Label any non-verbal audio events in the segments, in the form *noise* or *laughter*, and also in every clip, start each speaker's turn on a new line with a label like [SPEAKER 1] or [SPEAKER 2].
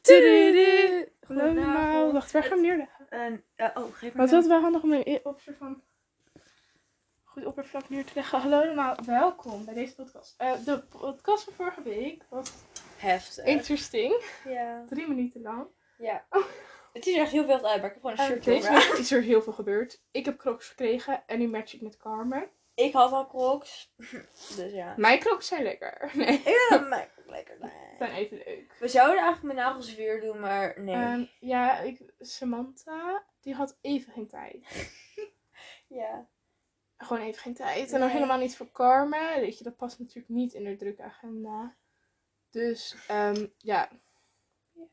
[SPEAKER 1] Tududu.
[SPEAKER 2] Goedenavond.
[SPEAKER 1] Wacht, waar gaan we neerleggen?
[SPEAKER 2] En, eh, oh, geef maar.
[SPEAKER 1] Wat is het wel handig om een i- op soort van goed oppervlak neer te leggen. Hallo allemaal, welkom bij deze podcast. Eh, de podcast van vorige week was
[SPEAKER 2] Heftig.
[SPEAKER 1] interesting.
[SPEAKER 2] Ja.
[SPEAKER 1] Drie minuten lang.
[SPEAKER 2] ja. Het is er echt heel veel uit, maar ik heb gewoon een
[SPEAKER 1] En
[SPEAKER 2] shirt
[SPEAKER 1] deze
[SPEAKER 2] over.
[SPEAKER 1] week Ah, is er heel veel gebeurd. Ik heb crocs gekregen en nu match ik met Carmen.
[SPEAKER 2] Ik had al crocs. *laughs* Dus ja.
[SPEAKER 1] Mijn crocs zijn lekker. *laughs* Nee,
[SPEAKER 2] Ik *laughs* vind hem lekker.
[SPEAKER 1] ze
[SPEAKER 2] Nee.
[SPEAKER 1] zijn even leuk.
[SPEAKER 2] We zouden eigenlijk mijn nagels weer doen, maar nee.
[SPEAKER 1] Ehm, ja, ik, Samantha, die had even geen tijd.
[SPEAKER 2] ja.
[SPEAKER 1] Gewoon even geen tijd. En dan
[SPEAKER 2] Nee.
[SPEAKER 1] helemaal niet voor Carmen. Weet je, dat past natuurlijk niet in de drukke agenda. Dus ehm, ja.
[SPEAKER 2] Ja.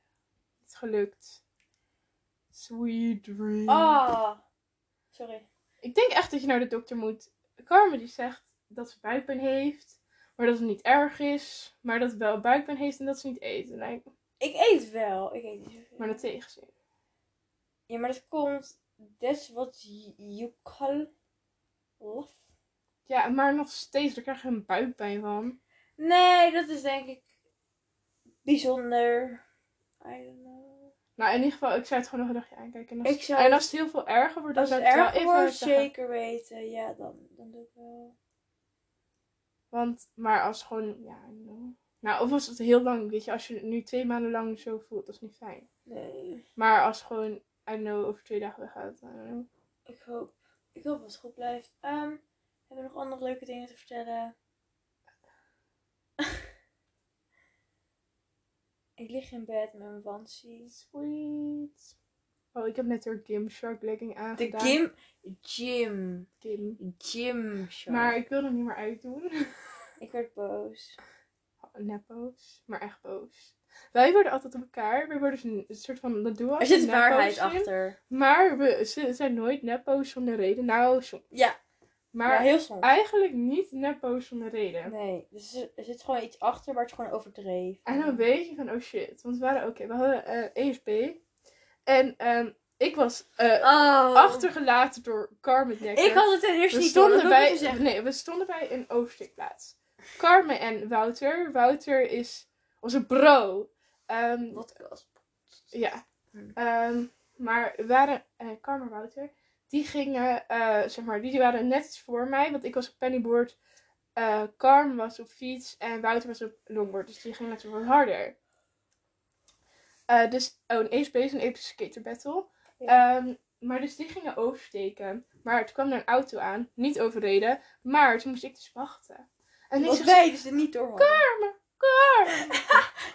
[SPEAKER 1] Het gelukt. Sweet dream.
[SPEAKER 2] Ah. Sorry.
[SPEAKER 1] Ik denk echt dat je naar de dokter moet. Carmen die zegt dat ze buikpijn heeft. Maar dat het niet erg is. Maar dat ze wel buikpijn heeft en dat ze niet eet. En hij-
[SPEAKER 2] Ik eet wel. Ik eet niet zoveel.
[SPEAKER 1] maar dat tegenzin.
[SPEAKER 2] Ja, maar dat komt... That's what y- you call love.
[SPEAKER 1] Ja, maar nog steeds, daar krijg je een buikpijn van.
[SPEAKER 2] Nee, dat is denk ik bijzonder. I don't know.
[SPEAKER 1] Nou, in ieder geval, ik zou het gewoon nog een dagje aankijken. En als,
[SPEAKER 2] Ik zou-
[SPEAKER 1] en als het heel veel erger wordt, dan
[SPEAKER 2] Als
[SPEAKER 1] zou
[SPEAKER 2] het
[SPEAKER 1] ik het wel
[SPEAKER 2] erg
[SPEAKER 1] even
[SPEAKER 2] wordt,
[SPEAKER 1] zeggen.
[SPEAKER 2] zeker weten. Ja, dan, dan doe ik wel.
[SPEAKER 1] Want, maar als gewoon, ja, I don't know. nou, of als het heel lang, weet je, als je het nu twee maanden lang zo voelt, dat is niet fijn.
[SPEAKER 2] Nee.
[SPEAKER 1] Maar als gewoon, I don't know, over twee dagen weggaat, I don't know.
[SPEAKER 2] Ik hoop, ik hoop dat het goed blijft. Ehm, hebben we nog andere leuke dingen te vertellen? *laughs* ik lig in bed met mijn wansie.
[SPEAKER 1] Sweet. Oh, ik heb net weer Gymshark legging
[SPEAKER 2] De
[SPEAKER 1] aangedaan.
[SPEAKER 2] gym. Gym.
[SPEAKER 1] Gym.
[SPEAKER 2] Gym.
[SPEAKER 1] Maar ik wil er niet meer uitdoen. *laughs*
[SPEAKER 2] Ik werd boos.
[SPEAKER 1] Neppoos, maar echt boos. Wij worden altijd op elkaar. Wij worden dus een soort van, dat doen we
[SPEAKER 2] Er
[SPEAKER 1] altijd
[SPEAKER 2] zit
[SPEAKER 1] neppoos
[SPEAKER 2] waarheid
[SPEAKER 1] in.
[SPEAKER 2] achter.
[SPEAKER 1] Maar we ze zijn nooit neppoos zonder reden. Nou, som-
[SPEAKER 2] Ja,
[SPEAKER 1] maar Oh,
[SPEAKER 2] maar heel soms.
[SPEAKER 1] eigenlijk niet neppoos zonder reden.
[SPEAKER 2] Nee, dus er er zit gewoon iets achter, maar het is gewoon overdreven.
[SPEAKER 1] En dan weet je van, oh shit. Want we waren ook, we hadden eh ESP. En ehm, ik was eh,
[SPEAKER 2] Oh.
[SPEAKER 1] achtergelaten door Carmen Dekker.
[SPEAKER 2] Ik had het ten eerste
[SPEAKER 1] we
[SPEAKER 2] niet door, dat
[SPEAKER 1] stonden,
[SPEAKER 2] wil ik even
[SPEAKER 1] bij,
[SPEAKER 2] zeggen.
[SPEAKER 1] nee, we stonden bij een oversteekplaats. Carmen en Wouter. Wouter is onze bro. Ehm,
[SPEAKER 2] Podcast.
[SPEAKER 1] ja.
[SPEAKER 2] Hmm.
[SPEAKER 1] Ehm, maar we waren, eh Carmen en Wouter, die gingen, eh, zeg maar, die waren net iets voor mij. Want ik was op pennyboard, eh Carmen was op fiets en Wouter was op longboard. Dus die ging natuurlijk wat harder. Eh, dus, oh, een ESB is een epische skater battle.
[SPEAKER 2] Ja.
[SPEAKER 1] Ehm, maar dus die gingen oversteken. Maar toen kwam er een auto aan, niet overreden. Maar toen moest ik dus wachten. En ik
[SPEAKER 2] Want
[SPEAKER 1] zei,
[SPEAKER 2] wij dus er niet door hadden.
[SPEAKER 1] Carmen!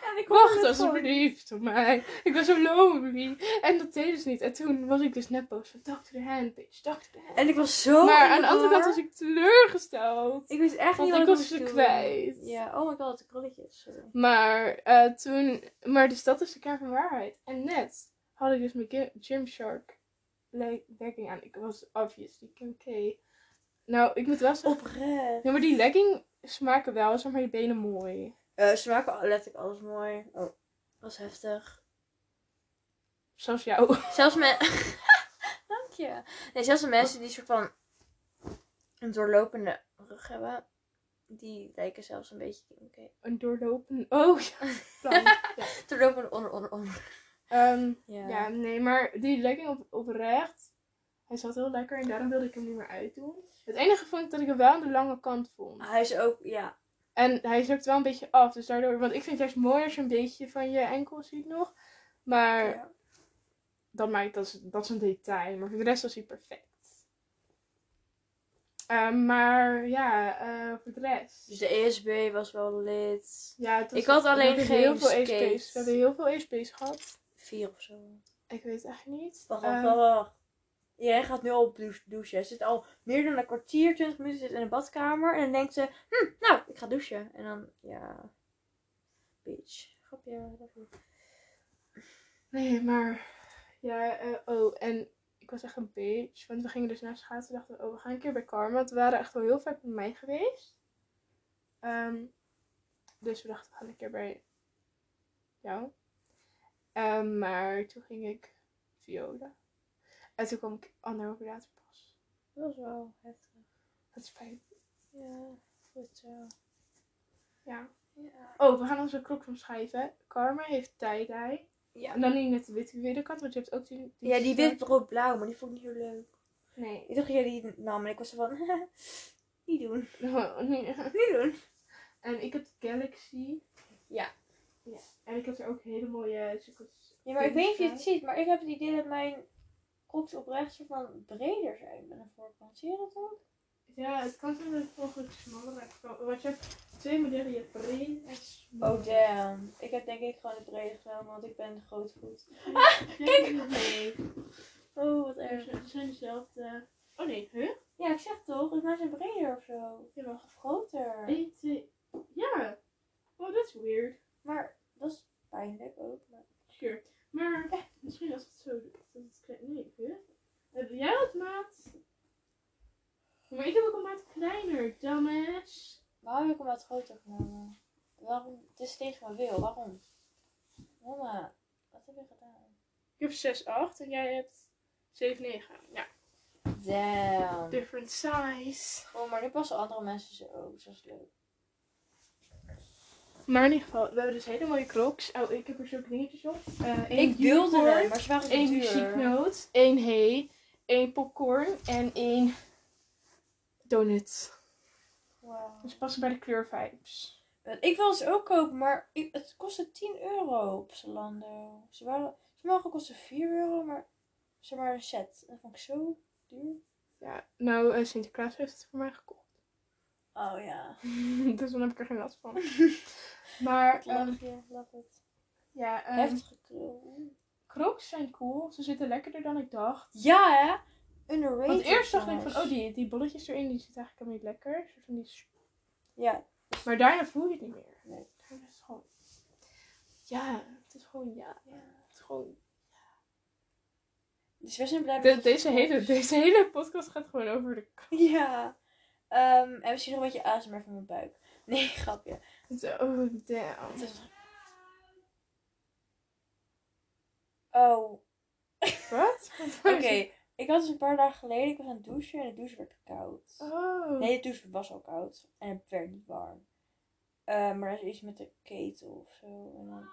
[SPEAKER 2] En ik hoorde
[SPEAKER 1] Wacht
[SPEAKER 2] het gewoon.
[SPEAKER 1] alsjeblieft op mij. Ik was zo lonely. En dat deden ze niet. En toen was ik dus net boos van Dr. Hand, bitch, Dr. Hand.
[SPEAKER 2] En ik was zo
[SPEAKER 1] maar
[SPEAKER 2] in
[SPEAKER 1] aan de andere
[SPEAKER 2] war.
[SPEAKER 1] kant was ik teleurgesteld.
[SPEAKER 2] Ik dus wist echt
[SPEAKER 1] Want
[SPEAKER 2] niet
[SPEAKER 1] ik was
[SPEAKER 2] wat moest
[SPEAKER 1] ze
[SPEAKER 2] doen.
[SPEAKER 1] kwijt.
[SPEAKER 2] Ja, oh my god, de krulletjes. Sorry.
[SPEAKER 1] Maar eh, toen... Maar dus dat is de kern van waarheid. En net had ik dus mijn Gym- Gymshark le- legging aan. Ik was obviously Kim K. Nou, ik moet wel zeggen...
[SPEAKER 2] Oprecht.
[SPEAKER 1] Ja, maar die legging smaken wel, zeg maar, je benen mooi.
[SPEAKER 2] Eh, ze maken al- letterlijk alles mooi. Oh, dat was heftig.
[SPEAKER 1] Zoals jou. *laughs*
[SPEAKER 2] Zelfs met... *laughs* Dank je. Nee, zelfs de mensen die soort van een doorlopende rug hebben, die lijken zelfs een beetje... Oké.
[SPEAKER 1] Een doorlopen... Oh,
[SPEAKER 2] *laughs*
[SPEAKER 1] ja. Plan. Ja.
[SPEAKER 2] Doorlopende onder, onder, onder.
[SPEAKER 1] Ehm,
[SPEAKER 2] Ja.
[SPEAKER 1] Ja, nee, maar die legging op, oprecht, hij zat heel lekker en daarom wilde ik hem niet meer uitdoen. Het enige vond ik dat ik hem wel aan de lange kant vond.
[SPEAKER 2] Hij is ook, ja.
[SPEAKER 1] En hij zakt wel een beetje af, dus daardoor, want ik vind het juist mooi als je een beetje van je enkel ziet nog. Maar
[SPEAKER 2] ja.
[SPEAKER 1] dat maakt, dat is, dat is een detail, maar voor de rest was hij perfect. Ehm, maar ja, eh, voor de rest.
[SPEAKER 2] Dus de ESB was wel lid.
[SPEAKER 1] ja, het was-
[SPEAKER 2] ik had
[SPEAKER 1] we
[SPEAKER 2] alleen
[SPEAKER 1] hebben heel
[SPEAKER 2] geen
[SPEAKER 1] veel
[SPEAKER 2] skate.
[SPEAKER 1] ESP's. We hebben heel veel ESP's gehad.
[SPEAKER 2] Vier of zo.
[SPEAKER 1] Ik weet het echt niet.
[SPEAKER 2] Wacht,
[SPEAKER 1] Ehm,
[SPEAKER 2] wacht, wacht, wacht. Jij gaat nu al op douche- douchen. Ze zit al meer dan een kwartier, 20 minuten zit in de badkamer. En dan denkt ze, hm, nou, ik ga douchen. En dan, ja. Bitch. Grapje. grapje.
[SPEAKER 1] Nee, maar ja, eh, oh, en ik was echt een bitch. Want we gingen dus naar schaatsen en dachten, we, oh, we gaan een keer bij Karma. Want we waren echt wel heel vaak bij mij geweest. Ehm, dus we dachten, we gaan een keer bij jou. Ehm, maar toen ging ik viola. En toen kwam ik anderhalf uur later pas.
[SPEAKER 2] Dat was wel heftig.
[SPEAKER 1] Dat spijt me.
[SPEAKER 2] Ja, goed zo.
[SPEAKER 1] Ja.
[SPEAKER 2] Ja.
[SPEAKER 1] Oh, we gaan onze klok omschrijven. Karma heeft tie-dye.
[SPEAKER 2] Ja.
[SPEAKER 1] En dan niet net de witte wederkant, want je hebt ook die...
[SPEAKER 2] Ja, die
[SPEAKER 1] zwart-
[SPEAKER 2] wit rood blauw, maar die vond ik niet zo leuk.
[SPEAKER 1] Nee. *laughs*
[SPEAKER 2] Ik dacht dat jij die nam en ik was zo van, *laughs* niet doen,
[SPEAKER 1] nee.
[SPEAKER 2] niet doen.
[SPEAKER 1] En ik heb de Galaxy.
[SPEAKER 2] Ja.
[SPEAKER 1] ja. En ik heb er ook hele mooie cirkels.
[SPEAKER 2] Ja, maar ik weet niet of je het ziet, maar ik heb het idee dat mijn kopjes oprecht soort van breder zijn dan de voorkant. Zie je dat ook?
[SPEAKER 1] Ja, het kan zijn dat het volgens smaller uitkomt. Want je hebt twee modellen, je hebt breed en smal.
[SPEAKER 2] Oh damn. Ik heb denk ik gewoon de brede genomen, want ik ben grootvoet.
[SPEAKER 1] kijk! Nee,
[SPEAKER 2] Oh, wat
[SPEAKER 1] er
[SPEAKER 2] erg.
[SPEAKER 1] zijn- Dus ze zijn dezelfde. Oh nee, huh?
[SPEAKER 2] Ja, ik zeg toch, dus mij zijn breder of zo.
[SPEAKER 1] Jawel.
[SPEAKER 2] Of groter.
[SPEAKER 1] Eén, twee. Ja! Oh, dat is weird.
[SPEAKER 2] Maar dat is pijnlijk ook. Maar...
[SPEAKER 1] Sure. Maar misschien als het zo doet, dat het klein. Nee, huh? Heb jij wat maat? Maar ik heb ook een maat kleiner, dumbass.
[SPEAKER 2] Waarom heb ik hem wat groter genomen? Waarom? Het is tegen mijn wil. Waarom? Mama, wat heb je gedaan?
[SPEAKER 1] Ik heb 6,8 en jij hebt 7,9. Ja,
[SPEAKER 2] Damn.
[SPEAKER 1] different size.
[SPEAKER 2] Oh, maar nu passen andere mensen ze ook. Dus dat is leuk.
[SPEAKER 1] Maar in ieder geval, we hebben dus hele mooie crocs. Oh, ik heb er zulke dingetjes op. Eh, één
[SPEAKER 2] Ik wilde
[SPEAKER 1] unicorn,
[SPEAKER 2] hem, maar ze waren te
[SPEAKER 1] één
[SPEAKER 2] duur.
[SPEAKER 1] muzieknoot, één hey, één popcorn en één donut.
[SPEAKER 2] Wauw.
[SPEAKER 1] Dus passen bij de kleurvibes.
[SPEAKER 2] eh, Ik wil ze ook kopen, maar ik- het kostte 10 euro op Zalando. Ze waren, ze mogen kosten 4 euro, maar zeg maar een set. Dat vond ik zo duur.
[SPEAKER 1] Ja, nou, eh, Sinterklaas heeft het voor mij gekocht. *laughs*
[SPEAKER 2] Oh *laughs* ja.
[SPEAKER 1] dus dan heb ik er geen last van. maar,
[SPEAKER 2] Ik
[SPEAKER 1] ehm,
[SPEAKER 2] lach je, lach het.
[SPEAKER 1] ja, ehm,
[SPEAKER 2] Heftige krul.
[SPEAKER 1] crocs zijn cool. Ze zitten lekkerder dan ik dacht.
[SPEAKER 2] Ja hè? Underrated.
[SPEAKER 1] Want eerst dacht ik van,
[SPEAKER 2] jongens.
[SPEAKER 1] oh, die, die bolletjes erin, die zitten eigenlijk helemaal niet lekker. Een soort van die s-
[SPEAKER 2] Ja.
[SPEAKER 1] Maar daarna voel je het niet meer.
[SPEAKER 2] Nee.
[SPEAKER 1] Daarna is het gewoon... Ja, het is gewoon ja.
[SPEAKER 2] ja.
[SPEAKER 1] Het is gewoon...
[SPEAKER 2] Dus we zijn blij
[SPEAKER 1] De-
[SPEAKER 2] met
[SPEAKER 1] deze,
[SPEAKER 2] onze
[SPEAKER 1] hele,
[SPEAKER 2] volgers.
[SPEAKER 1] deze hele podcast gaat gewoon over de... k-
[SPEAKER 2] *laughs* Ja. Ehm, en misschien nog een beetje ASMR van mijn buik. Nee, *laughs* grapje.
[SPEAKER 1] het- Oh, damn.
[SPEAKER 2] Het is- Oh.
[SPEAKER 1] Wat? *laughs*
[SPEAKER 2] Oké, ik had dus een paar dagen geleden, ik was aan het douchen en de douche werd koud.
[SPEAKER 1] Oh.
[SPEAKER 2] Nee, de douche was al koud en het werd niet warm. Eh, maar er is iets met de ketel of zo. En dan...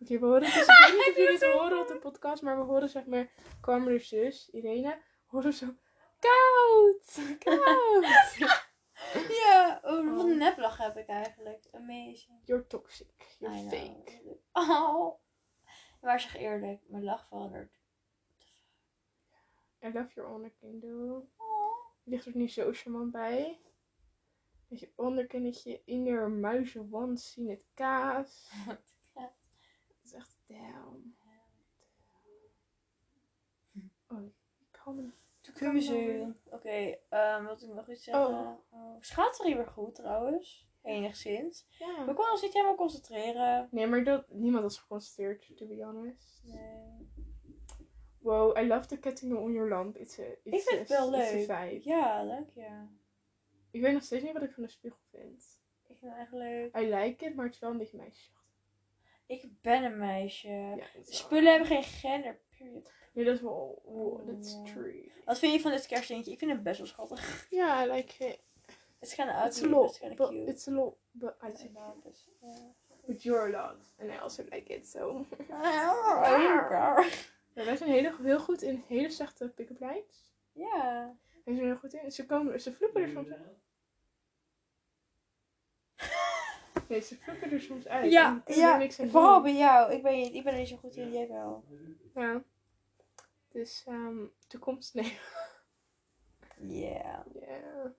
[SPEAKER 1] Oké, we horen dus... Ik weet niet of jullie het horen op de podcast, maar we horen zeg maar... Carmen's zus, Irene, horen zo... *laughs* Koud! *laughs* Koud!
[SPEAKER 2] Ja, oh, wat
[SPEAKER 1] Oh.
[SPEAKER 2] een neplach heb ik eigenlijk. Amazing.
[SPEAKER 1] You're toxic. You're
[SPEAKER 2] I know.
[SPEAKER 1] fake.
[SPEAKER 2] Oh. Maar zeg eerlijk, mijn lach verandert.
[SPEAKER 1] I love your onderkindo.
[SPEAKER 2] Oh.
[SPEAKER 1] ligt er niet zo charmant bij. Met je onderkinnetje, inner muizenwand zien het kaas.
[SPEAKER 2] *laughs*
[SPEAKER 1] Het is echt down. Oh, ik kan hem.
[SPEAKER 2] Toen kunnen ze. Oké, ehm wat ik nog iets zeggen.
[SPEAKER 1] Oh.
[SPEAKER 2] Oh, Schaatsen hier weer goed trouwens. Enigszins. We
[SPEAKER 1] Ja.
[SPEAKER 2] konden ons niet helemaal concentreren.
[SPEAKER 1] Nee, maar dat, niemand was geconcentreerd, to be honest.
[SPEAKER 2] Nee.
[SPEAKER 1] Wow, I love the ketting on your lamp. It's a, it's
[SPEAKER 2] vind
[SPEAKER 1] a-
[SPEAKER 2] het wel
[SPEAKER 1] it's a
[SPEAKER 2] leuk.
[SPEAKER 1] vibe.
[SPEAKER 2] Ja, dank je.
[SPEAKER 1] Ik weet nog steeds niet wat ik van de spiegel vind.
[SPEAKER 2] Ik vind het echt leuk.
[SPEAKER 1] I like it, maar het is wel een beetje meisjesachtig.
[SPEAKER 2] Ik ben een meisje.
[SPEAKER 1] Ja, het is wel-
[SPEAKER 2] Spullen hebben geen gender. Period.
[SPEAKER 1] Nee, dat is wel... wow, that's
[SPEAKER 2] Ja.
[SPEAKER 1] true.
[SPEAKER 2] Wat vind je van dit kerstdingetje? Ik vind het best wel schattig.
[SPEAKER 1] Ja, I like it.
[SPEAKER 2] Het is kind of
[SPEAKER 1] It's a
[SPEAKER 2] ugly, but
[SPEAKER 1] lot,
[SPEAKER 2] it's kind of
[SPEAKER 1] but
[SPEAKER 2] cute.
[SPEAKER 1] it's a lot, but I like
[SPEAKER 2] I
[SPEAKER 1] it.
[SPEAKER 2] know, but- ja.
[SPEAKER 1] But you're a lot. And I also like it, so...
[SPEAKER 2] Oh,
[SPEAKER 1] Ja, wij zijn heel, heel goed in hele zachte pick-up lines.
[SPEAKER 2] Ja.
[SPEAKER 1] Wij zijn heel goed in. Ze komen... Ze flippen er soms uit.
[SPEAKER 2] *laughs*
[SPEAKER 1] Nee, ze flippen er soms uit. En
[SPEAKER 2] Ja,
[SPEAKER 1] we kunnen er
[SPEAKER 2] ja.
[SPEAKER 1] niks aan
[SPEAKER 2] Vooral
[SPEAKER 1] doen.
[SPEAKER 2] bij jou. Ik ben, niet- ik ben er niet zo goed in. Jij wel.
[SPEAKER 1] "Oh, Ja. Dus, ehm... Toekomst... Nee.
[SPEAKER 2] *laughs* Ja.
[SPEAKER 1] Ja.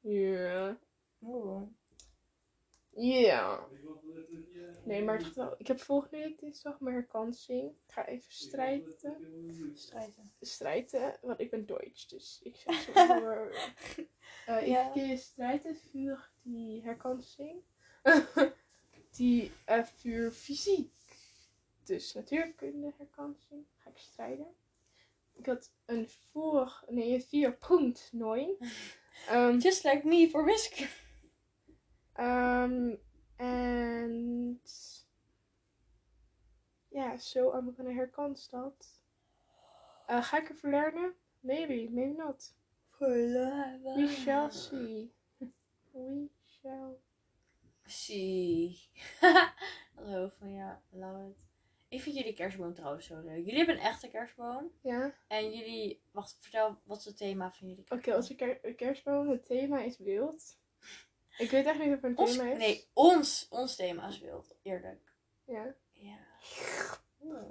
[SPEAKER 1] Ja.
[SPEAKER 2] Oeh.
[SPEAKER 1] Ja. Nee, maar het gaat wel... Ik heb volgende week dinsdag mijn herkansing. Ik ga even strijden.
[SPEAKER 2] Strijden.
[SPEAKER 1] strijden, want ik ben Duits, dus ik zeg zo voor. Eh,
[SPEAKER 2] Ja.
[SPEAKER 1] Ik gehe strijden voor die herkansing. *laughs* die eh voor fysiek. Dus natuurkunde herkansing ga ik strijden. Ik had een voor, nee, 4.9. Ehm
[SPEAKER 2] Just like me voor wiskunde.
[SPEAKER 1] ehm, En. Ja, zo I'm gonna herkans dat. Eh, ga ik ervoor leren? Maybe, maybe not.
[SPEAKER 2] Voor lava.
[SPEAKER 1] We shall see. We shall.
[SPEAKER 2] See. *laughs* Hallo, van ja, love it. Ik vind jullie kerstboom trouwens zo leuk. Jullie hebben een echte kerstboom.
[SPEAKER 1] Ja.
[SPEAKER 2] En jullie, wacht, vertel, wat is het thema van jullie
[SPEAKER 1] Oké, onze ker- kerstboom, het thema is beeld. Ik weet echt niet of het een
[SPEAKER 2] ons,
[SPEAKER 1] thema is.
[SPEAKER 2] Nee, ons, ons thema is wild. Eerlijk.
[SPEAKER 1] Ja.
[SPEAKER 2] Ja. Oeh.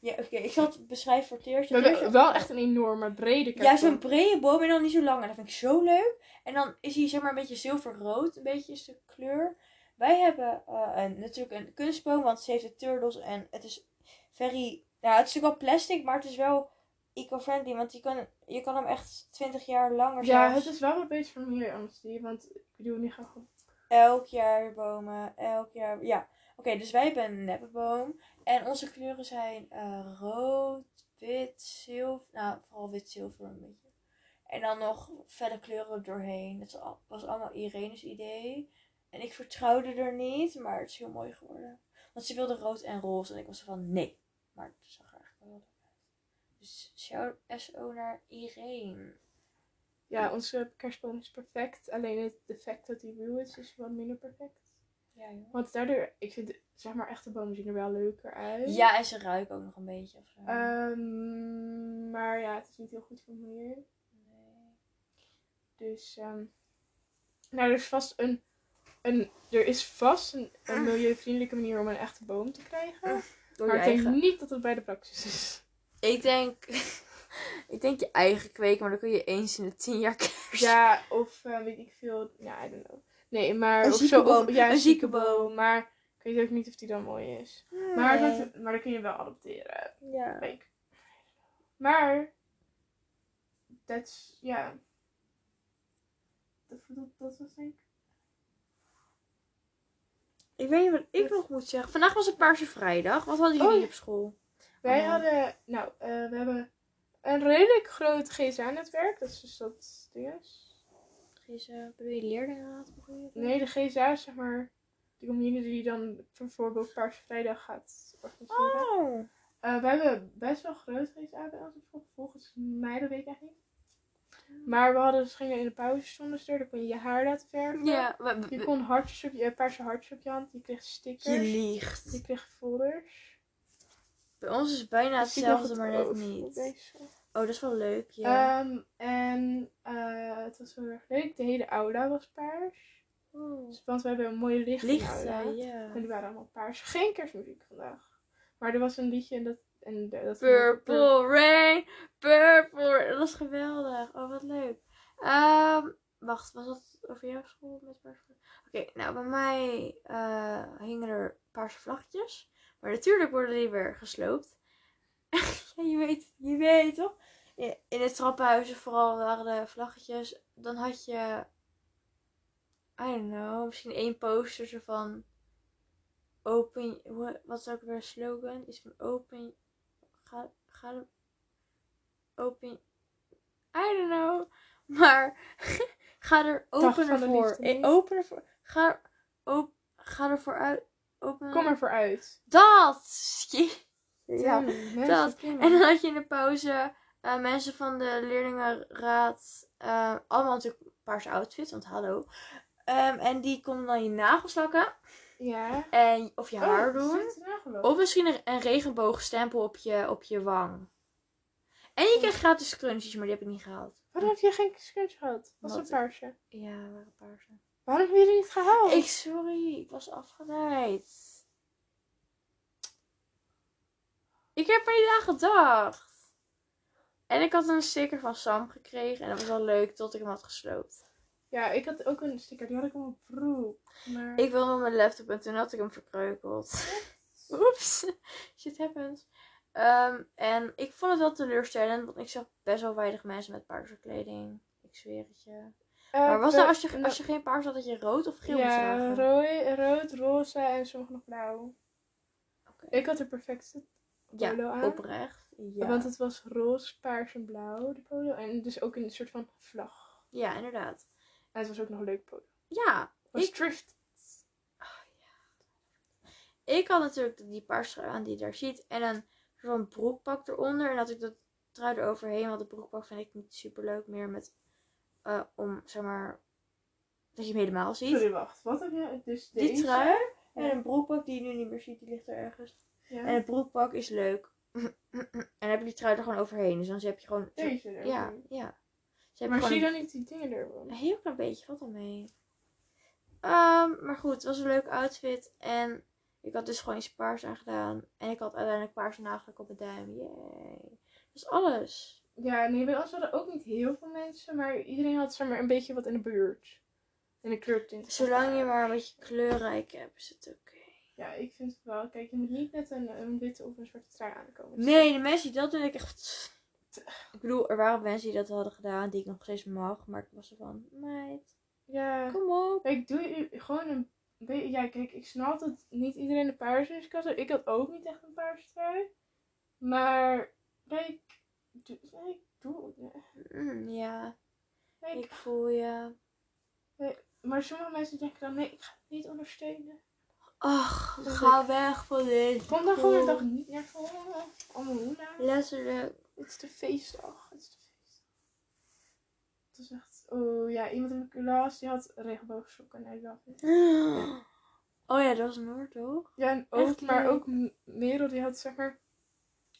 [SPEAKER 2] Ja, oké. ik zal het beschrijven voor het eerst.
[SPEAKER 1] Hmm. We hebben wel echt een enorme brede
[SPEAKER 2] Ja,
[SPEAKER 1] kerstboom.
[SPEAKER 2] zo'n brede boom en dan niet zo lang. En dat vind ik zo leuk. En dan is hij zeg maar een beetje zilverrood. Een beetje is de kleur. Wij hebben eh, een, natuurlijk een kunstboom, want ze heeft de turtles. En het is very... Ja, het is natuurlijk wel plastic, maar het is wel eco-friendly. Want je kan, je kan hem echt 20 jaar langer
[SPEAKER 1] ja,
[SPEAKER 2] zelfs.
[SPEAKER 1] het is wel een beetje van hier anders, die, want ik bedoel, nu gaan we...
[SPEAKER 2] Elk jaar bomen, elk jaar. Ja, oké, dus wij hebben een neppe boom. En onze kleuren zijn eh, rood, wit, zilver. Nou, vooral wit, zilver een beetje. En dan nog verder kleuren er doorheen. Dat is al- was allemaal Irene's idee. En ik vertrouwde er niet, maar het is heel mooi geworden. Want ze wilde rood en roze. En ik was zo van nee. Maar het zag er echt wel leuk uit. Dus shout SO naar Irene.
[SPEAKER 1] Ja, onze kerstboom is perfect, alleen het defect dat hij ruw is, is wat minder perfect.
[SPEAKER 2] Ja, joh.
[SPEAKER 1] Want daardoor, ik vind, zeg maar, echte bomen zien er wel leuker uit.
[SPEAKER 2] Ja, en ze ruiken ook nog een beetje. Of zo.
[SPEAKER 1] Ehm, maar ja, het is niet heel goed voor het milieu.
[SPEAKER 2] nee.
[SPEAKER 1] Dus, ehm, nou, er is vast een, een, er is vast een, een milieuvriendelijke manier om een echte boom te krijgen.
[SPEAKER 2] Ah. Door
[SPEAKER 1] maar ik denk niet dat het bij de praxis is.
[SPEAKER 2] Ik denk, *laughs* ik denk je eigen kweken, maar dan kun je eens in de tien jaar kerst.
[SPEAKER 1] Ja, of eh, weet ik veel. Ja, I don't know. Nee, maar...
[SPEAKER 2] Een
[SPEAKER 1] of
[SPEAKER 2] zieke
[SPEAKER 1] zo, of-
[SPEAKER 2] boom.
[SPEAKER 1] ja,
[SPEAKER 2] Een
[SPEAKER 1] een zieke
[SPEAKER 2] zieke
[SPEAKER 1] boom. Maar ik weet ook niet of die dan mooi is. Maar, dat, maar dat kun je wel adopteren.
[SPEAKER 2] ja.
[SPEAKER 1] denk ik. Maar... Dat is... Ja. Dat, dat, dat was denk ik...
[SPEAKER 2] Ik weet niet wat ik nog moet zeggen. Vandaag was het Paarse Vrijdag. Wat hadden jullie
[SPEAKER 1] Oh, ja.
[SPEAKER 2] op school?
[SPEAKER 1] Wij
[SPEAKER 2] Allemaal.
[SPEAKER 1] hadden... Nou, eh, we hebben een redelijk groot GSA-netwerk. Dat is dus dat dinges.
[SPEAKER 2] Is, eh bedoel je leerlingenraad? bedoel je?
[SPEAKER 1] Nee, de GSA is zeg maar... De community die dan bijvoorbeeld Paarse Vrijdag gaat organiseren.
[SPEAKER 2] Oh.
[SPEAKER 1] Eh, we hebben best wel groot GSA bij ons op school. Volgens mij, dat weet ik echt niet. Maar we hadden, dus gingen in de pauze stonden ze er. Dan kon je je haar laten verven.
[SPEAKER 2] Ja, we, we-
[SPEAKER 1] Je kon hartjes op je, eh, paarse hartjes op je hand. Je kreeg
[SPEAKER 2] je
[SPEAKER 1] stickers. Je
[SPEAKER 2] liegt.
[SPEAKER 1] kreeg folders. Dus
[SPEAKER 2] Bij ons is het Eh, bijna
[SPEAKER 1] Ik zie nog
[SPEAKER 2] hetzelfde,
[SPEAKER 1] het
[SPEAKER 2] maar net
[SPEAKER 1] over-
[SPEAKER 2] niet.
[SPEAKER 1] deze.
[SPEAKER 2] Oh, dat is wel leuk, ja.
[SPEAKER 1] Ehm, en eh, het was heel erg leuk. De hele aula was paars.
[SPEAKER 2] Oh.
[SPEAKER 1] Dus- Want we hebben een mooie licht in de aula.
[SPEAKER 2] Lichten, ja.
[SPEAKER 1] En die waren allemaal paars. Geen kerstmuziek vandaag. Maar er was een liedje en dat... En dat
[SPEAKER 2] Purple Rain, Purple Rain. Dat was geweldig. Oh, wat leuk. Ehm, wacht, was dat over jouw school met paarse vlaggetjes? Oké, nou bij mij eh, hingen er paarse vlaggetjes. Maar natuurlijk worden die weer gesloopt. *laughs* ja, je weet het, je weet het, toch? In, in het trappenhuis vooral waren de vlaggetjes. Dan had je, I don't know, misschien één poster van open, hoe- wat is ook weer een slogan? Iets van open ga, ga hem open. I don't know. *laughs* Maar ga er opener
[SPEAKER 1] van de
[SPEAKER 2] voor.
[SPEAKER 1] liefde niet.
[SPEAKER 2] Eh, Opener voor. Ga, op, ga er vooruit. Open.
[SPEAKER 1] Kom ervoor uit.
[SPEAKER 2] Dat! *laughs* Ja.
[SPEAKER 1] Mm, mensen
[SPEAKER 2] dat.
[SPEAKER 1] kunnen.
[SPEAKER 2] En dan had je in de pauze eh, mensen van de leerlingenraad. eh, allemaal natuurlijk paarse outfits, want hallo. Ehm, en die konden dan je nagels lakken.
[SPEAKER 1] Ja. Oh,
[SPEAKER 2] En, of je haar doen.
[SPEAKER 1] Op.
[SPEAKER 2] Of misschien een, een regenboogstempel op je, op je wang. En je kreeg gratis crunchies, maar die heb ik niet gehaald.
[SPEAKER 1] Waarom heb Oh, je geen scrunch gehad? Was
[SPEAKER 2] Wat?
[SPEAKER 1] een paarse.
[SPEAKER 2] Ja, waren paarse.
[SPEAKER 1] Waarom heb je die niet gehaald?
[SPEAKER 2] Ik, sorry, ik was afgeleid. Ik heb er niet aan gedacht. En ik had een sticker van Sam gekregen en dat was wel leuk tot ik hem had gesloopt.
[SPEAKER 1] Ja, ik had ook een sticker. Die had ik op mijn broek. Maar...
[SPEAKER 2] Ik wilde op mijn laptop en toen had ik hem verkreukeld. *laughs* Oeps, shit happens. Ehm, en ik vond het wel teleurstellend, want ik zag best wel weinig mensen met paarse kleding. Ik zweer het je.
[SPEAKER 1] Eh,
[SPEAKER 2] Maar was
[SPEAKER 1] we-
[SPEAKER 2] nou als je,
[SPEAKER 1] nou,
[SPEAKER 2] als je geen paars had, dat je rood of geel moest
[SPEAKER 1] Ja,
[SPEAKER 2] dragen?
[SPEAKER 1] rooi, rood, roze en sommige nog blauw.
[SPEAKER 2] Oké.
[SPEAKER 1] Ik had de perfecte
[SPEAKER 2] Ja,
[SPEAKER 1] polo aan.
[SPEAKER 2] Oprecht. Ja.
[SPEAKER 1] Want het was roze, paars en blauw, de polo. En dus ook een soort van vlag.
[SPEAKER 2] ja, inderdaad.
[SPEAKER 1] En het was ook nog een leuk polo.
[SPEAKER 2] Ja,
[SPEAKER 1] Het was
[SPEAKER 2] Ik-
[SPEAKER 1] thrift.
[SPEAKER 2] Oh, ik had natuurlijk die paarse trui aan die je daar ziet. En een soort van broekpak eronder. En had ik dat trui eroverheen. Want de broekpak vind ik niet super leuk meer met... eh, om, zeg maar... Dat je hem helemaal ziet.
[SPEAKER 1] Sorry, wacht. Wat heb je? Dus
[SPEAKER 2] Die
[SPEAKER 1] deze.
[SPEAKER 2] trui En een broekpak die je nu niet meer ziet, die ligt er ergens.
[SPEAKER 1] Ja.
[SPEAKER 2] En het broekpak is leuk. *clears throat* en dan heb je die trui er gewoon overheen. Dus dan heb je gewoon...
[SPEAKER 1] Deze er.
[SPEAKER 2] Ja, ja. Ze hebben
[SPEAKER 1] Maar zie
[SPEAKER 2] gewoon
[SPEAKER 1] je dan
[SPEAKER 2] een-
[SPEAKER 1] niet die dingen ervan?
[SPEAKER 2] een heel klein beetje. Wat dan mee? Ehm, maar goed, het was een leuk outfit. En ik had dus gewoon iets paars aangedaan. En ik had uiteindelijk paarse nagelen op mijn duim. Yay. Dat is alles.
[SPEAKER 1] Ja, nee, bij ons hadden ook niet heel veel mensen, maar iedereen had zeg maar een beetje wat in de buurt. En de kleurtint.
[SPEAKER 2] Zolang je maar een beetje kleurrijk hebt, is het oké.
[SPEAKER 1] Ja, ik vind het wel. Kijk, je moet niet met een, een witte of een zwarte trui aankomen.
[SPEAKER 2] Nee, de mensen die dat doen, ik echt... Ik bedoel, er waren mensen die dat hadden gedaan, die ik nog steeds mag. Maar ik was ervan, meid,
[SPEAKER 1] Ja.
[SPEAKER 2] kom op.
[SPEAKER 1] Kijk, doe je gewoon een beetje... Ja, kijk, ik snap dat niet iedereen een paars is. Ik had, ik had ook niet echt een paars trui. Maar, kijk... Doe, kijk, doe...
[SPEAKER 2] Mm, ja,
[SPEAKER 1] Kijk,
[SPEAKER 2] ik voel je.
[SPEAKER 1] maar sommige mensen denken dan... Nee, ik ga het niet ondersteunen.
[SPEAKER 2] Ach,
[SPEAKER 1] Dus
[SPEAKER 2] ga weg van dit.
[SPEAKER 1] Kom dan gewoon een dag niet naar voren. Allemaal hoena.
[SPEAKER 2] Letterlijk.
[SPEAKER 1] Het is de feestdag. Het is de feestdag. Het is echt... Oh ja, iemand in mijn klas die had regenboogsokken. en I love it.
[SPEAKER 2] Oh ja, dat was Noord, toch?
[SPEAKER 1] Ja, en ook,
[SPEAKER 2] Echt
[SPEAKER 1] maar
[SPEAKER 2] leuk.
[SPEAKER 1] ook M- Merel die had zeg maar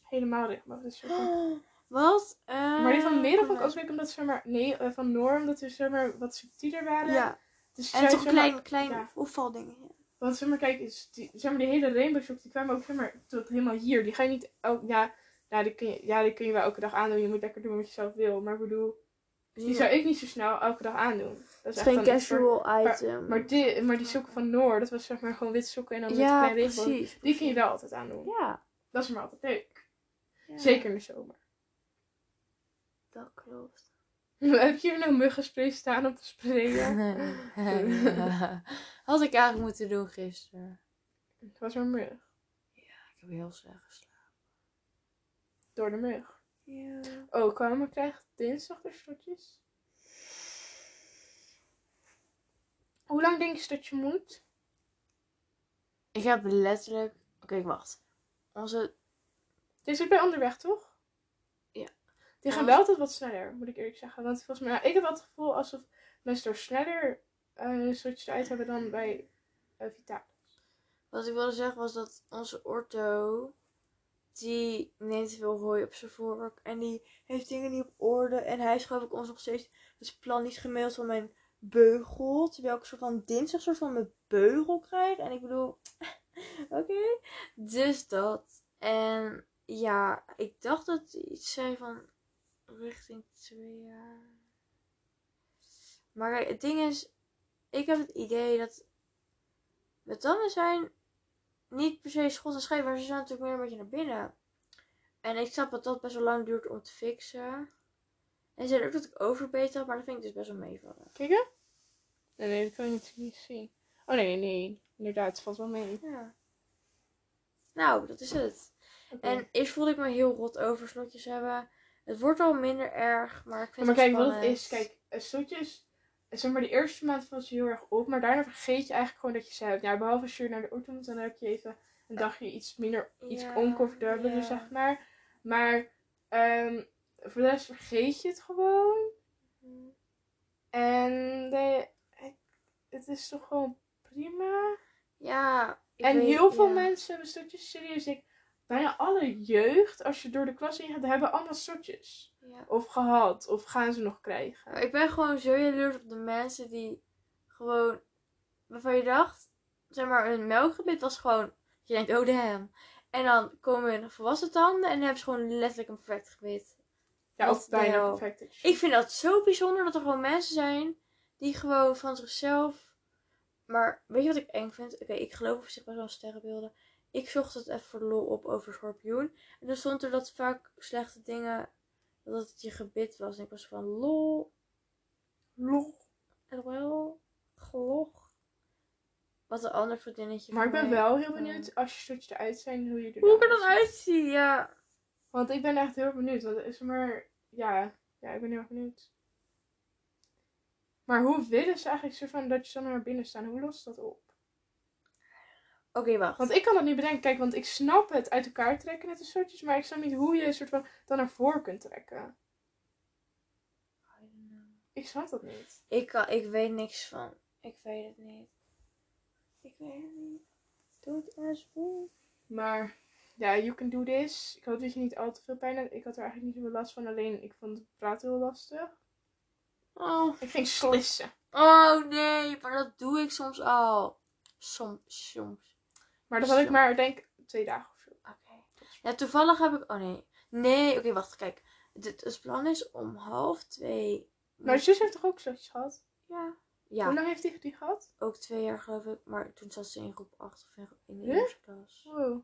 [SPEAKER 1] helemaal regenboogsokken.
[SPEAKER 2] Wat?
[SPEAKER 1] Maar die van Merel vond ik ook
[SPEAKER 2] als
[SPEAKER 1] leuk omdat ze zeg maar... Nee, eh, van Noor omdat ze zeg maar wat subtieler waren.
[SPEAKER 2] Ja,
[SPEAKER 1] Dus
[SPEAKER 2] en
[SPEAKER 1] zij,
[SPEAKER 2] toch
[SPEAKER 1] zeg maar,
[SPEAKER 2] klein, klein
[SPEAKER 1] ja.
[SPEAKER 2] opvaldingen. ja.
[SPEAKER 1] Want zeg maar kijk, is die, zeg maar die hele regenboogsokken die kwamen ook zeg maar tot helemaal hier. Die ga je niet... elk ja, ja, die kun je, ja, die kun je wel elke dag aandoen. Je moet lekker doen wat je zelf wil. Maar ik bedoel, die zou ik niet zo snel elke dag aandoen. Dat is
[SPEAKER 2] Het is
[SPEAKER 1] echt
[SPEAKER 2] geen
[SPEAKER 1] dan iets voor-
[SPEAKER 2] casual item.
[SPEAKER 1] Maar, die, maar die sokken van Noor, dat was zeg maar gewoon witte sokken en dan met een
[SPEAKER 2] ja,
[SPEAKER 1] klein regenboog.
[SPEAKER 2] precies.
[SPEAKER 1] Die kun je wel altijd aandoen.
[SPEAKER 2] Ja.
[SPEAKER 1] Dat is maar altijd leuk.
[SPEAKER 2] ja,
[SPEAKER 1] Zeker in de zomer. *laughs*
[SPEAKER 2] Dat klopt. *laughs*
[SPEAKER 1] Heb je hier nou muggenspray staan op te
[SPEAKER 2] *laughs*
[SPEAKER 1] sprayen?
[SPEAKER 2] Had ik eigenlijk moeten doen gisteren.
[SPEAKER 1] Het was maar mug.
[SPEAKER 2] Ik heb heel slecht geslapen.
[SPEAKER 1] Door de mug.
[SPEAKER 2] Ja.
[SPEAKER 1] Oh, Karma krijgt dinsdag weer stotjes. Hoe lang denk je dat je moet?
[SPEAKER 2] Ik heb letterlijk... Oké, wacht. Onze...
[SPEAKER 1] Dit is bij onderweg, toch?
[SPEAKER 2] Ja.
[SPEAKER 1] Die gaan
[SPEAKER 2] Ja.
[SPEAKER 1] wel altijd wat sneller, moet ik eerlijk zeggen. Want volgens mij, ik heb wel het gevoel alsof mensen er sneller eh stotjes uit hebben dan bij eh Vita.
[SPEAKER 2] Wat ik wilde zeggen was dat onze ortho... Die neemt veel hooi op zijn voorwerk. En die heeft dingen niet op orde. En hij schoof ik ons nog steeds het plan niet gemaild van mijn beugel. Terwijl ik een soort van dinsdag soort van mijn beugel krijg. En ik bedoel... *laughs* Oké. Dus dat. En ja, ik dacht dat hij iets zei van richting twee jaar. Maar kijk, het ding is, ik heb het idee dat de tanden zijn niet per se schot en scheef, maar ze zijn natuurlijk meer een beetje naar binnen. En ik snap dat dat best wel lang duurt om te fixen. En ze zeiden ook dat ik overbeet had, maar dat vind ik dus best wel meevallen.
[SPEAKER 1] Kijken? Nee, nee, dat kan je natuurlijk niet zien. Oh nee, nee, inderdaad, het valt wel mee.
[SPEAKER 2] Ja. Nou, dat is het.
[SPEAKER 1] Oké.
[SPEAKER 2] En eerst voelde ik me heel rot over slotjes hebben. Het wordt al minder erg, maar ik
[SPEAKER 1] Ja,
[SPEAKER 2] vind
[SPEAKER 1] maar
[SPEAKER 2] het
[SPEAKER 1] kijk, wat het
[SPEAKER 2] spannend.
[SPEAKER 1] is, kijk, eh, zoetjes, eh, zeg maar, de eerste maand valt ze heel erg op, maar daarna vergeet je eigenlijk gewoon dat je ze hebt. Ja, behalve als je naar de auto moet, dan heb je even een dagje iets minder, iets
[SPEAKER 2] Ja,
[SPEAKER 1] oncomfortabeler,
[SPEAKER 2] ja.
[SPEAKER 1] zeg maar. Maar ehm, voor de rest vergeet je het gewoon. En eh, ik- het is toch gewoon prima.
[SPEAKER 2] Ja. ik
[SPEAKER 1] En
[SPEAKER 2] weet-
[SPEAKER 1] heel veel
[SPEAKER 2] ja.
[SPEAKER 1] mensen hebben stotjes. Serieus, ik, bijna alle jeugd, als je door de klas heen gaat, hebben allemaal stotjes.
[SPEAKER 2] Ja.
[SPEAKER 1] Of gehad, of gaan ze nog krijgen.
[SPEAKER 2] Maar Eh, Ik ben gewoon zo jaloers op de mensen die gewoon... Waarvan je dacht, zeg maar, hun melkgebit was gewoon... Je denkt, oh damn. En dan komen hun volwassen tanden en dan hebben ze gewoon letterlijk een perfect gebit.
[SPEAKER 1] Ja,
[SPEAKER 2] Wat
[SPEAKER 1] of
[SPEAKER 2] de
[SPEAKER 1] bijna
[SPEAKER 2] hel.
[SPEAKER 1] perfect. is.
[SPEAKER 2] Ik vind dat zo bijzonder dat er gewoon mensen zijn die gewoon van zichzelf. Maar weet je wat ik eng vind? Oké, ik geloof op zich best wel in sterrenbeelden. Ik zocht het even voor de lol op over schorpioen. En dan stond er dat vaak slechte dingen. dat het je gebit was. En ik was van lol,
[SPEAKER 1] Lol.
[SPEAKER 2] lol, glog. Wat een ander vriendinnetje.
[SPEAKER 1] Maar ik
[SPEAKER 2] van
[SPEAKER 1] ben
[SPEAKER 2] mij.
[SPEAKER 1] wel heel benieuwd als je stotjes eruit zijn, hoe je er
[SPEAKER 2] Hoe ik er dan uitzie, ja.
[SPEAKER 1] Want ik ben echt heel erg benieuwd. Want het is maar. Ja, ja, ik ben heel erg benieuwd. Maar hoe willen ze eigenlijk zo van dat je dan naar binnen staat? Hoe lost dat op?
[SPEAKER 2] Oké, wacht.
[SPEAKER 1] Want ik kan dat niet bedenken. Kijk, want ik snap het uit elkaar trekken met de soortjes, maar ik snap niet hoe je een soort van dan naar voren kunt trekken. Ik snap dat niet.
[SPEAKER 2] eh, Ik, kan, ik weet niks van. Ik weet het niet. Ik weet het niet. Don't ask who.
[SPEAKER 1] Maar ja, you can do this. Ik hoop dat je niet al te veel pijn hebt. Ik had er eigenlijk niet zoveel last van. Alleen ik vond het praten heel lastig.
[SPEAKER 2] Oh.
[SPEAKER 1] Ik ging slissen.
[SPEAKER 2] oh nee, maar dat doe ik soms al. Soms, soms.
[SPEAKER 1] Maar dat had ik
[SPEAKER 2] Zo.
[SPEAKER 1] maar, denk ik, twee dagen of zo.
[SPEAKER 2] Oké. Ja, toevallig heb ik... Oh nee. Nee, oké, wacht. Kijk. Het, het plan is om half twee...
[SPEAKER 1] Maar Nou, zus heeft toch ook zoiets gehad?
[SPEAKER 2] Ja.
[SPEAKER 1] Hoe
[SPEAKER 2] Ja,
[SPEAKER 1] lang heeft die die gehad?
[SPEAKER 2] ook twee jaar geloof ik. Maar toen zat ze in groep 8 of in, gro- in de
[SPEAKER 1] Huh?
[SPEAKER 2] eerste klas.
[SPEAKER 1] Wow.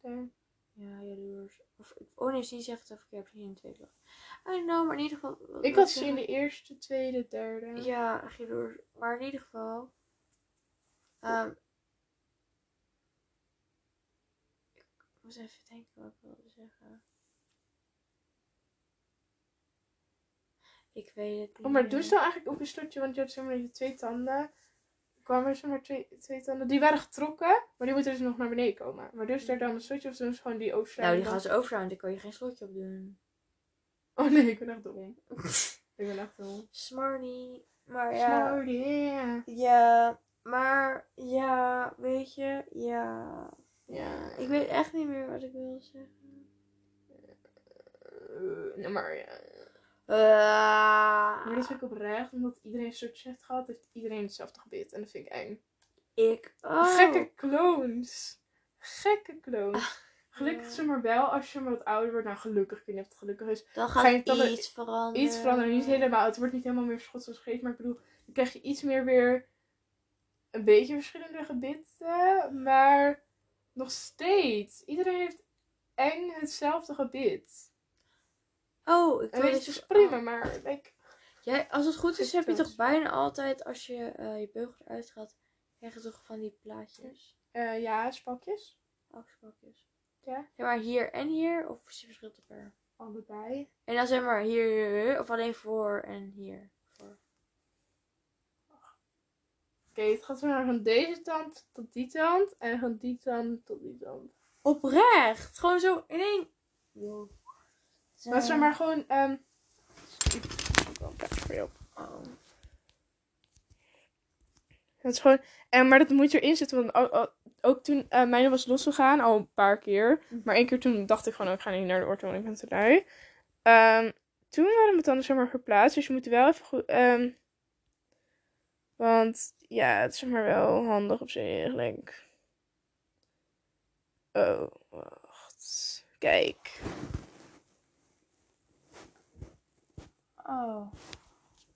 [SPEAKER 1] Damn.
[SPEAKER 2] Ja, jaloers. Of, oh nee, ze zegt het verkeerd. Misschien in de tweede klas. I don't know, maar in ieder geval... wat
[SPEAKER 1] Ik
[SPEAKER 2] wil
[SPEAKER 1] had ze
[SPEAKER 2] zeggen?
[SPEAKER 1] in de eerste, tweede, derde.
[SPEAKER 2] Ja, jaloers. Maar in ieder geval... ehm, ik moet even denken wat ik wilde zeggen. Ik weet het niet
[SPEAKER 1] Oh, maar
[SPEAKER 2] meer.
[SPEAKER 1] doen ze nou eigenlijk op je slotje? Want je hebt zeg maar deze twee tanden. Er kwamen zeg maar twee, twee tanden. Die waren getrokken, maar die moeten dus nog naar beneden komen. Maar doen ze daar dan een slotje of doen ze gewoon die overslaan?
[SPEAKER 2] Nou, die gaan ze overruimen. Daar kan je geen slotje op doen.
[SPEAKER 1] *laughs* Oh nee, ik ben echt dom. Ik ben echt dom.
[SPEAKER 2] Smarty. Maar Oh, ja.
[SPEAKER 1] Ja. ja.
[SPEAKER 2] Ja, maar ja, weet je, ja.
[SPEAKER 1] Ja.
[SPEAKER 2] Ik weet echt niet meer wat ik wil zeggen.
[SPEAKER 1] Eh, nee, maar ja. Maar
[SPEAKER 2] Ah,
[SPEAKER 1] dat vind ik oprecht, omdat iedereen een slotje heeft gehad, heeft iedereen hetzelfde gebit. En dat vind ik eng.
[SPEAKER 2] ik ook.
[SPEAKER 1] Gekke clones. Gekke clones. Gelukkig
[SPEAKER 2] ja.
[SPEAKER 1] is ze maar wel als je maar wat ouder wordt. Nou, gelukkig. Ik weet niet of het gelukkig is.
[SPEAKER 2] Dan
[SPEAKER 1] Ga
[SPEAKER 2] gaat
[SPEAKER 1] je dan
[SPEAKER 2] iets veranderen.
[SPEAKER 1] Iets veranderen. Niet helemaal. Het wordt niet helemaal meer schots als geest. Maar ik bedoel, dan krijg je iets meer weer een beetje verschillende gebitten. Maar nog steeds. Iedereen heeft eng hetzelfde gebit.
[SPEAKER 2] Oh, ik
[SPEAKER 1] En
[SPEAKER 2] wil
[SPEAKER 1] weet je,
[SPEAKER 2] iets
[SPEAKER 1] het is dus
[SPEAKER 2] ver-
[SPEAKER 1] prima.
[SPEAKER 2] oh.
[SPEAKER 1] Maar like,
[SPEAKER 2] Jij, als het goed is,
[SPEAKER 1] Ik
[SPEAKER 2] heb je
[SPEAKER 1] wil
[SPEAKER 2] toch
[SPEAKER 1] iets ver-
[SPEAKER 2] bijna altijd, als je eh, je beugel eruit gaat, krijg je toch van die plaatjes.
[SPEAKER 1] eh, ja, spakjes.
[SPEAKER 2] Afspakjes.
[SPEAKER 1] Ja.
[SPEAKER 2] Ja, maar hier en hier, of verschilt het per?
[SPEAKER 1] Allebei.
[SPEAKER 2] En dan zeg maar hier, hier, hier, eh, of alleen voor en hier. Voor.
[SPEAKER 1] Oké, het gaat weer van deze tand tot die tand. En van die tand tot die tand.
[SPEAKER 2] Oprecht. Gewoon zo in één. Yo.
[SPEAKER 1] Maar zeg maar gewoon, ehm,
[SPEAKER 2] Oh.
[SPEAKER 1] het is gewoon en, maar dat moet erin zitten. Want ook, ook- ook toen eh mijne was losgegaan, al een paar keer. Maar één keer toen dacht ik gewoon, oh, ik ga niet naar de ortho, want ik ben te lui. Ehm, toen waren mijn tanden zeg maar geplaatst, dus je moet wel even goed... ehm, want ja, het is zeg maar wel handig op zich eigenlijk. Oh, wacht. Kijk.
[SPEAKER 2] Oh.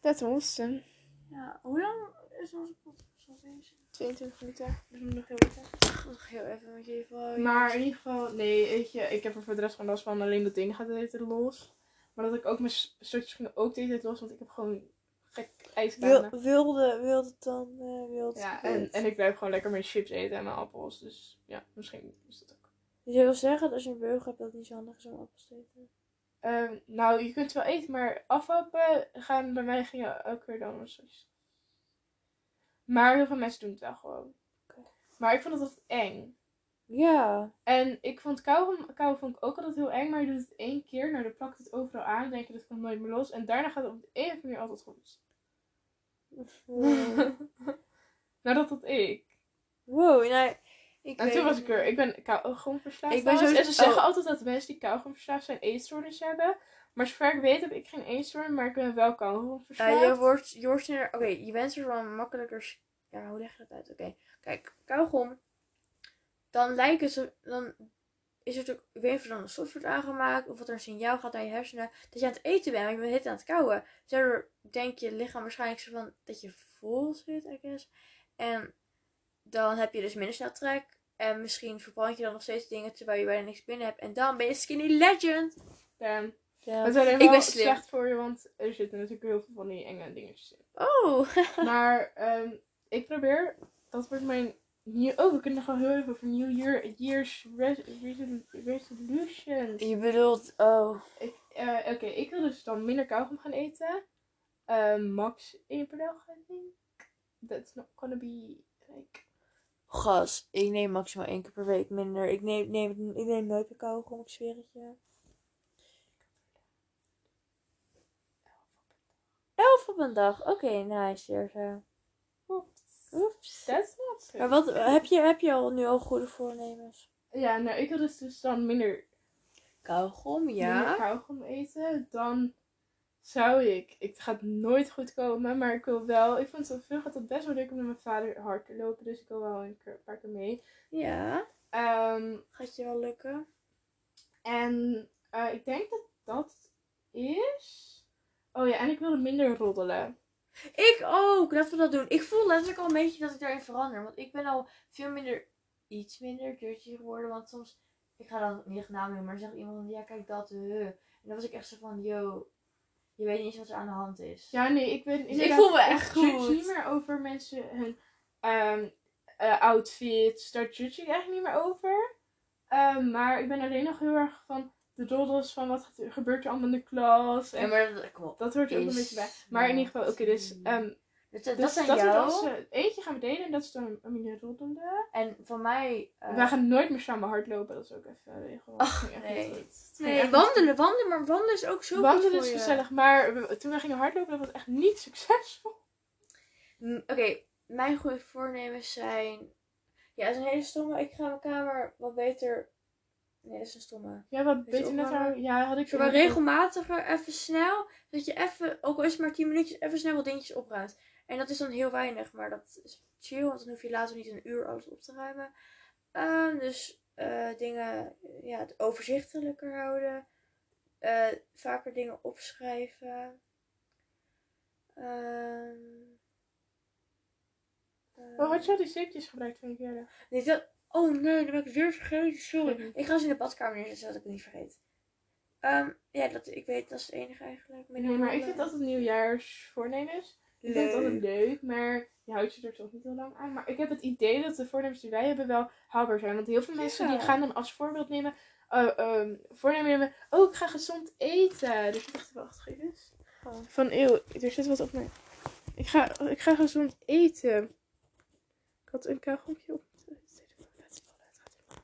[SPEAKER 1] Dat was hem.
[SPEAKER 2] Ja. Hoe lang is onze podcast al bezig?
[SPEAKER 1] 22 minuten. Dus we moeten nog heel wat hebben.
[SPEAKER 2] Nog heel even, want Oh, je wel.
[SPEAKER 1] Maar in ieder geval, nee, weet je, ik heb er voor de rest gewoon last van. Alleen dat ding gaat de hele tijd los. Maar dat ik ook mijn s- stukjes ging ook de hele tijd los, want ik heb gewoon gek ijskanen.
[SPEAKER 2] wilde, wilde tanden, wilde
[SPEAKER 1] Ja, en, en ik blijf gewoon lekker mijn chips eten en mijn appels. Dus ja, misschien is dat ook.
[SPEAKER 2] Dus je wil zeggen dat als je een beugel hebt, dat het niet zo handig is om appels te eten?
[SPEAKER 1] Ehm, nou, je kunt wel eten, maar afhappen gaan bij mij gingen elke keer dan mijn stukjes. Maar heel veel mensen doen het wel gewoon.
[SPEAKER 2] Oké.
[SPEAKER 1] Maar ik vond het altijd eng.
[SPEAKER 2] Ja.
[SPEAKER 1] En ik vond kauwgom, kauwen vond ik ook altijd heel eng, maar je doet het één keer, nou dan plakt het overal aan, dan denk je dat komt nooit meer los. En daarna gaat het op de een of andere manier altijd goed.
[SPEAKER 2] Wow.
[SPEAKER 1] *laughs* nou, dat had ik.
[SPEAKER 2] *laughs* wow. Nou, ik
[SPEAKER 1] En
[SPEAKER 2] weet
[SPEAKER 1] toen was
[SPEAKER 2] het
[SPEAKER 1] ik er,
[SPEAKER 2] niet.
[SPEAKER 1] ik ben kauwgomverslaafd
[SPEAKER 2] Ik ben
[SPEAKER 1] trouwens.
[SPEAKER 2] zo-
[SPEAKER 1] En ze zeggen
[SPEAKER 2] oh.
[SPEAKER 1] altijd dat mensen die kauwgomverslaafd zijn eetstoornis hebben. Maar zover ik weet heb ik geen eetstoornis, maar ik ben wel
[SPEAKER 2] Ja,
[SPEAKER 1] kauwgomverslaafd.
[SPEAKER 2] Eh, je wordt, je wordt sneller, oké, je bent er van makkelijker, s- ja, hoe leg je dat uit? Oké, kijk, kauwgom, dan lijken ze, dan is er natuurlijk, ik weet niet of er dan een stof wordt aangemaakt, of dat er een signaal gaat naar je hersenen, dat je aan het eten bent, maar je bent het aan het kauwen. Dus daardoor denkt je lichaam waarschijnlijk zo van, dat je vol zit, I guess. En dan heb je dus minder snel trek, en misschien verbrand je dan nog steeds dingen terwijl je bijna niks binnen hebt, en dan ben je skinny legend!
[SPEAKER 1] Damn.
[SPEAKER 2] Ja.
[SPEAKER 1] Dat is alleen
[SPEAKER 2] Ik
[SPEAKER 1] wel
[SPEAKER 2] ben slim.
[SPEAKER 1] slecht voor je, want er zitten natuurlijk heel veel van die enge dingetjes in.
[SPEAKER 2] Oh! *laughs*
[SPEAKER 1] Maar ehm, ik probeer, dat wordt mijn. nieuw- Oh, we kunnen gewoon heel even over New Year, Year's res- resolu- Resolutions.
[SPEAKER 2] Je bedoelt, oh.
[SPEAKER 1] Ik, eh, Oké, ik wil dus dan minder kauwgom gaan eten. Eh, max één per dag, I think. That's not gonna be like...
[SPEAKER 2] Gas, ik neem maximaal één keer per week minder. Ik neem, neem, ik neem nooit meer kauwgom, ik zweer het je. Elf op een dag. Oké, nice, Jurgen.
[SPEAKER 1] Oeps.
[SPEAKER 2] Oeps.
[SPEAKER 1] That's not
[SPEAKER 2] Maar
[SPEAKER 1] good.
[SPEAKER 2] wat, eh, heb je, heb je al, nu al goede voornemens?
[SPEAKER 1] Ja, nou, ik wil dus, dus dan minder,
[SPEAKER 2] Kauwgom,
[SPEAKER 1] minder
[SPEAKER 2] ja.
[SPEAKER 1] kauwgom eten. Dan zou ik... Ik ga het nooit goed komen, maar ik wil wel... Ik vond het, vroeger gaat het best wel leuk om met mijn vader hard te lopen. Dus ik wil wel een keer- paar keer mee.
[SPEAKER 2] Ja.
[SPEAKER 1] Ehm,
[SPEAKER 2] Gaat je wel lukken?
[SPEAKER 1] en eh, ik denk dat dat is... Oh ja, en ik wilde minder roddelen.
[SPEAKER 2] Ik ook. Laten we dat doen. Ik voel letterlijk al een beetje dat ik daarin verander. Want ik ben al veel minder, iets minder dirty geworden. Want soms, ik ga dan niet echt naam noemen, maar zegt iemand, ja kijk dat, eh. En dan was ik echt zo van, yo, je weet niet eens wat er aan de hand is.
[SPEAKER 1] Ja, nee, ik ben...
[SPEAKER 2] Dus ik voel me echt
[SPEAKER 1] ik judge
[SPEAKER 2] goed.
[SPEAKER 1] niet meer over mensen hun ehm, eh, outfits. Daar judge ik echt niet meer over. Ehm, maar ik ben alleen nog heel erg van de doddels van wat gaat- gebeurt er allemaal in de klas. En
[SPEAKER 2] Ja, maar dat, kom op.
[SPEAKER 1] dat hoort er ook een
[SPEAKER 2] is
[SPEAKER 1] beetje bij. Maar in ieder geval, oké, dus,
[SPEAKER 2] niet.
[SPEAKER 1] ehm,
[SPEAKER 2] Dat,
[SPEAKER 1] dus
[SPEAKER 2] dat zijn
[SPEAKER 1] dat we
[SPEAKER 2] jou.
[SPEAKER 1] dan ze- eentje gaan we delen en dat is dan Amine Roddelde.
[SPEAKER 2] En van mij... eh,
[SPEAKER 1] Wij gaan nooit meer samen hardlopen, dat is ook even een regel. Dat ging echt
[SPEAKER 2] nee.
[SPEAKER 1] niet goed. Dat ging echt
[SPEAKER 2] Nee,
[SPEAKER 1] niet
[SPEAKER 2] wandelen, wandelen, maar wandelen is ook zo
[SPEAKER 1] goed.
[SPEAKER 2] goed
[SPEAKER 1] Wandelen
[SPEAKER 2] voor
[SPEAKER 1] is
[SPEAKER 2] je.
[SPEAKER 1] gezellig, maar we- toen we gingen hardlopen, dat was echt niet succesvol.
[SPEAKER 2] Mm, Oké, mijn goede voornemens zijn. Ja, dat is een hele stomme. Ik ga mijn kamer wat beter. Nee, dat is een stomme.
[SPEAKER 1] Ja, wat
[SPEAKER 2] je
[SPEAKER 1] beter net
[SPEAKER 2] opwarmen?
[SPEAKER 1] aan- Ja, had ik
[SPEAKER 2] Ik maar
[SPEAKER 1] inderdaad-
[SPEAKER 2] regelmatiger, even snel. Dat je even, ook al is het maar 10 minuutjes, even snel wat dingetjes opruimt. En dat is dan heel weinig, maar dat is chill, want dan hoef je later niet een uur alles op te ruimen. Ehm, dus eh, dingen ja, het overzichtelijker houden. Eh, vaker dingen opschrijven. Ehm,
[SPEAKER 1] Waarom
[SPEAKER 2] ehm.
[SPEAKER 1] Oh, had je al die zeepjes gebruikt van keer?
[SPEAKER 2] Nee, dat... Oh nee, dat ben ik weer vergeten. Sorry.
[SPEAKER 1] Sorry.
[SPEAKER 2] Ik ga ze in de badkamer neerzetten, zodat ik het niet vergeet. Ehm, ja, dat, ik weet, dat is het enige eigenlijk. Minder
[SPEAKER 1] Nee, maar ik
[SPEAKER 2] rollen.
[SPEAKER 1] vind altijd nieuwjaarsvoornemens. Ik vind het altijd leuk, maar je houdt je er toch niet heel lang aan. Maar ik heb het idee dat de voornemens die wij hebben wel haalbaar zijn. Want heel veel mensen
[SPEAKER 2] Ja.
[SPEAKER 1] die gaan dan als voorbeeld nemen, eh, ehm, voornemen nemen, oh ik ga gezond eten. Dus ik dacht, wacht even.
[SPEAKER 2] Oh.
[SPEAKER 1] Van eeuw, er zit wat op mij. Ik ga, ik ga gezond eten. Ik had een kauwgompje op. mijn telefoon. Laat het vallen, laat het vallen.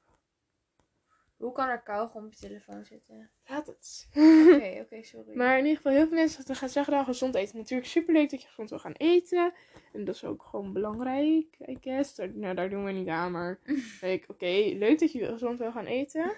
[SPEAKER 2] Hoe kan er kauwgom op je telefoon *laughs* zitten?
[SPEAKER 1] Laat het.
[SPEAKER 2] Oké, oké, sorry.
[SPEAKER 1] Maar in ieder geval, heel veel mensen dat gaan zeggen dan gezond eten. Natuurlijk superleuk dat je gezond wil gaan eten. En dat is ook gewoon belangrijk, I guess. Daar, nou, daar doen we niet aan,
[SPEAKER 2] *laughs*
[SPEAKER 1] maar ik, oké, leuk dat je gezond wil gaan eten.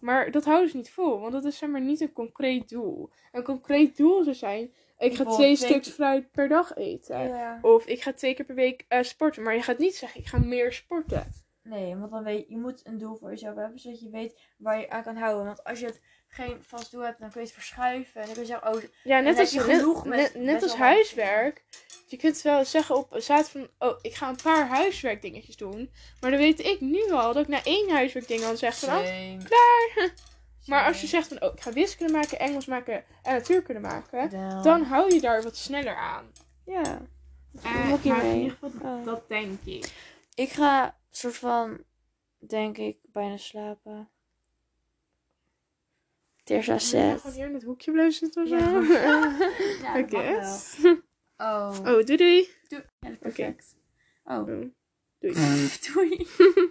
[SPEAKER 1] Maar dat houden ze niet vol, want dat is zeg maar niet een concreet doel. Een concreet doel zou zijn, ik ga
[SPEAKER 2] Bijvoorbeeld
[SPEAKER 1] twee
[SPEAKER 2] twee
[SPEAKER 1] stuks
[SPEAKER 2] keer-
[SPEAKER 1] fruit per dag eten.
[SPEAKER 2] Ja.
[SPEAKER 1] Of ik ga twee keer per week eh, sporten. Maar je gaat niet zeggen, ik ga meer sporten.
[SPEAKER 2] Nee, want dan weet je, moet een doel voor jezelf hebben, zodat je weet waar je aan kan houden. Want als je het geen vast doel hebt, dan kun je het verschuiven. En dan kun je zeggen, oh,
[SPEAKER 1] Ja, net
[SPEAKER 2] heb
[SPEAKER 1] als,
[SPEAKER 2] je
[SPEAKER 1] net,
[SPEAKER 2] genoeg met-
[SPEAKER 1] net,
[SPEAKER 2] met
[SPEAKER 1] net als
[SPEAKER 2] allemaal dingen.
[SPEAKER 1] huiswerk. Je kunt wel zeggen op zaterdag van, oh, ik ga een paar huiswerkdingetjes doen. Maar dan weet ik nu al dat ik na één huiswerkding dan zeg van, ah,
[SPEAKER 2] klaar.
[SPEAKER 1] *laughs* maar als je zegt van, oh, ik ga wiskunde maken, Engels maken en natuurkunde maken, dan hou je daar wat sneller aan.
[SPEAKER 2] Ja.
[SPEAKER 1] Eh,
[SPEAKER 2] Moet je
[SPEAKER 1] maar in
[SPEAKER 2] mee?
[SPEAKER 1] ieder geval,
[SPEAKER 2] Ah.
[SPEAKER 1] Dat denk ik.
[SPEAKER 2] Ik ga soort van, denk ik, bijna slapen. Terza
[SPEAKER 1] Moet je
[SPEAKER 2] set.
[SPEAKER 1] gewoon hier in het hoekje blijven zitten of zo?
[SPEAKER 2] *laughs* Ja.
[SPEAKER 1] *laughs*
[SPEAKER 2] Ja,
[SPEAKER 1] I
[SPEAKER 2] dat mag
[SPEAKER 1] guess.
[SPEAKER 2] wel. Oh.
[SPEAKER 1] Oh, doei doei.
[SPEAKER 2] Doe- Ja, dat is
[SPEAKER 1] Oké.
[SPEAKER 2] perfect. Oh.
[SPEAKER 1] Oh, doei.
[SPEAKER 2] Doei.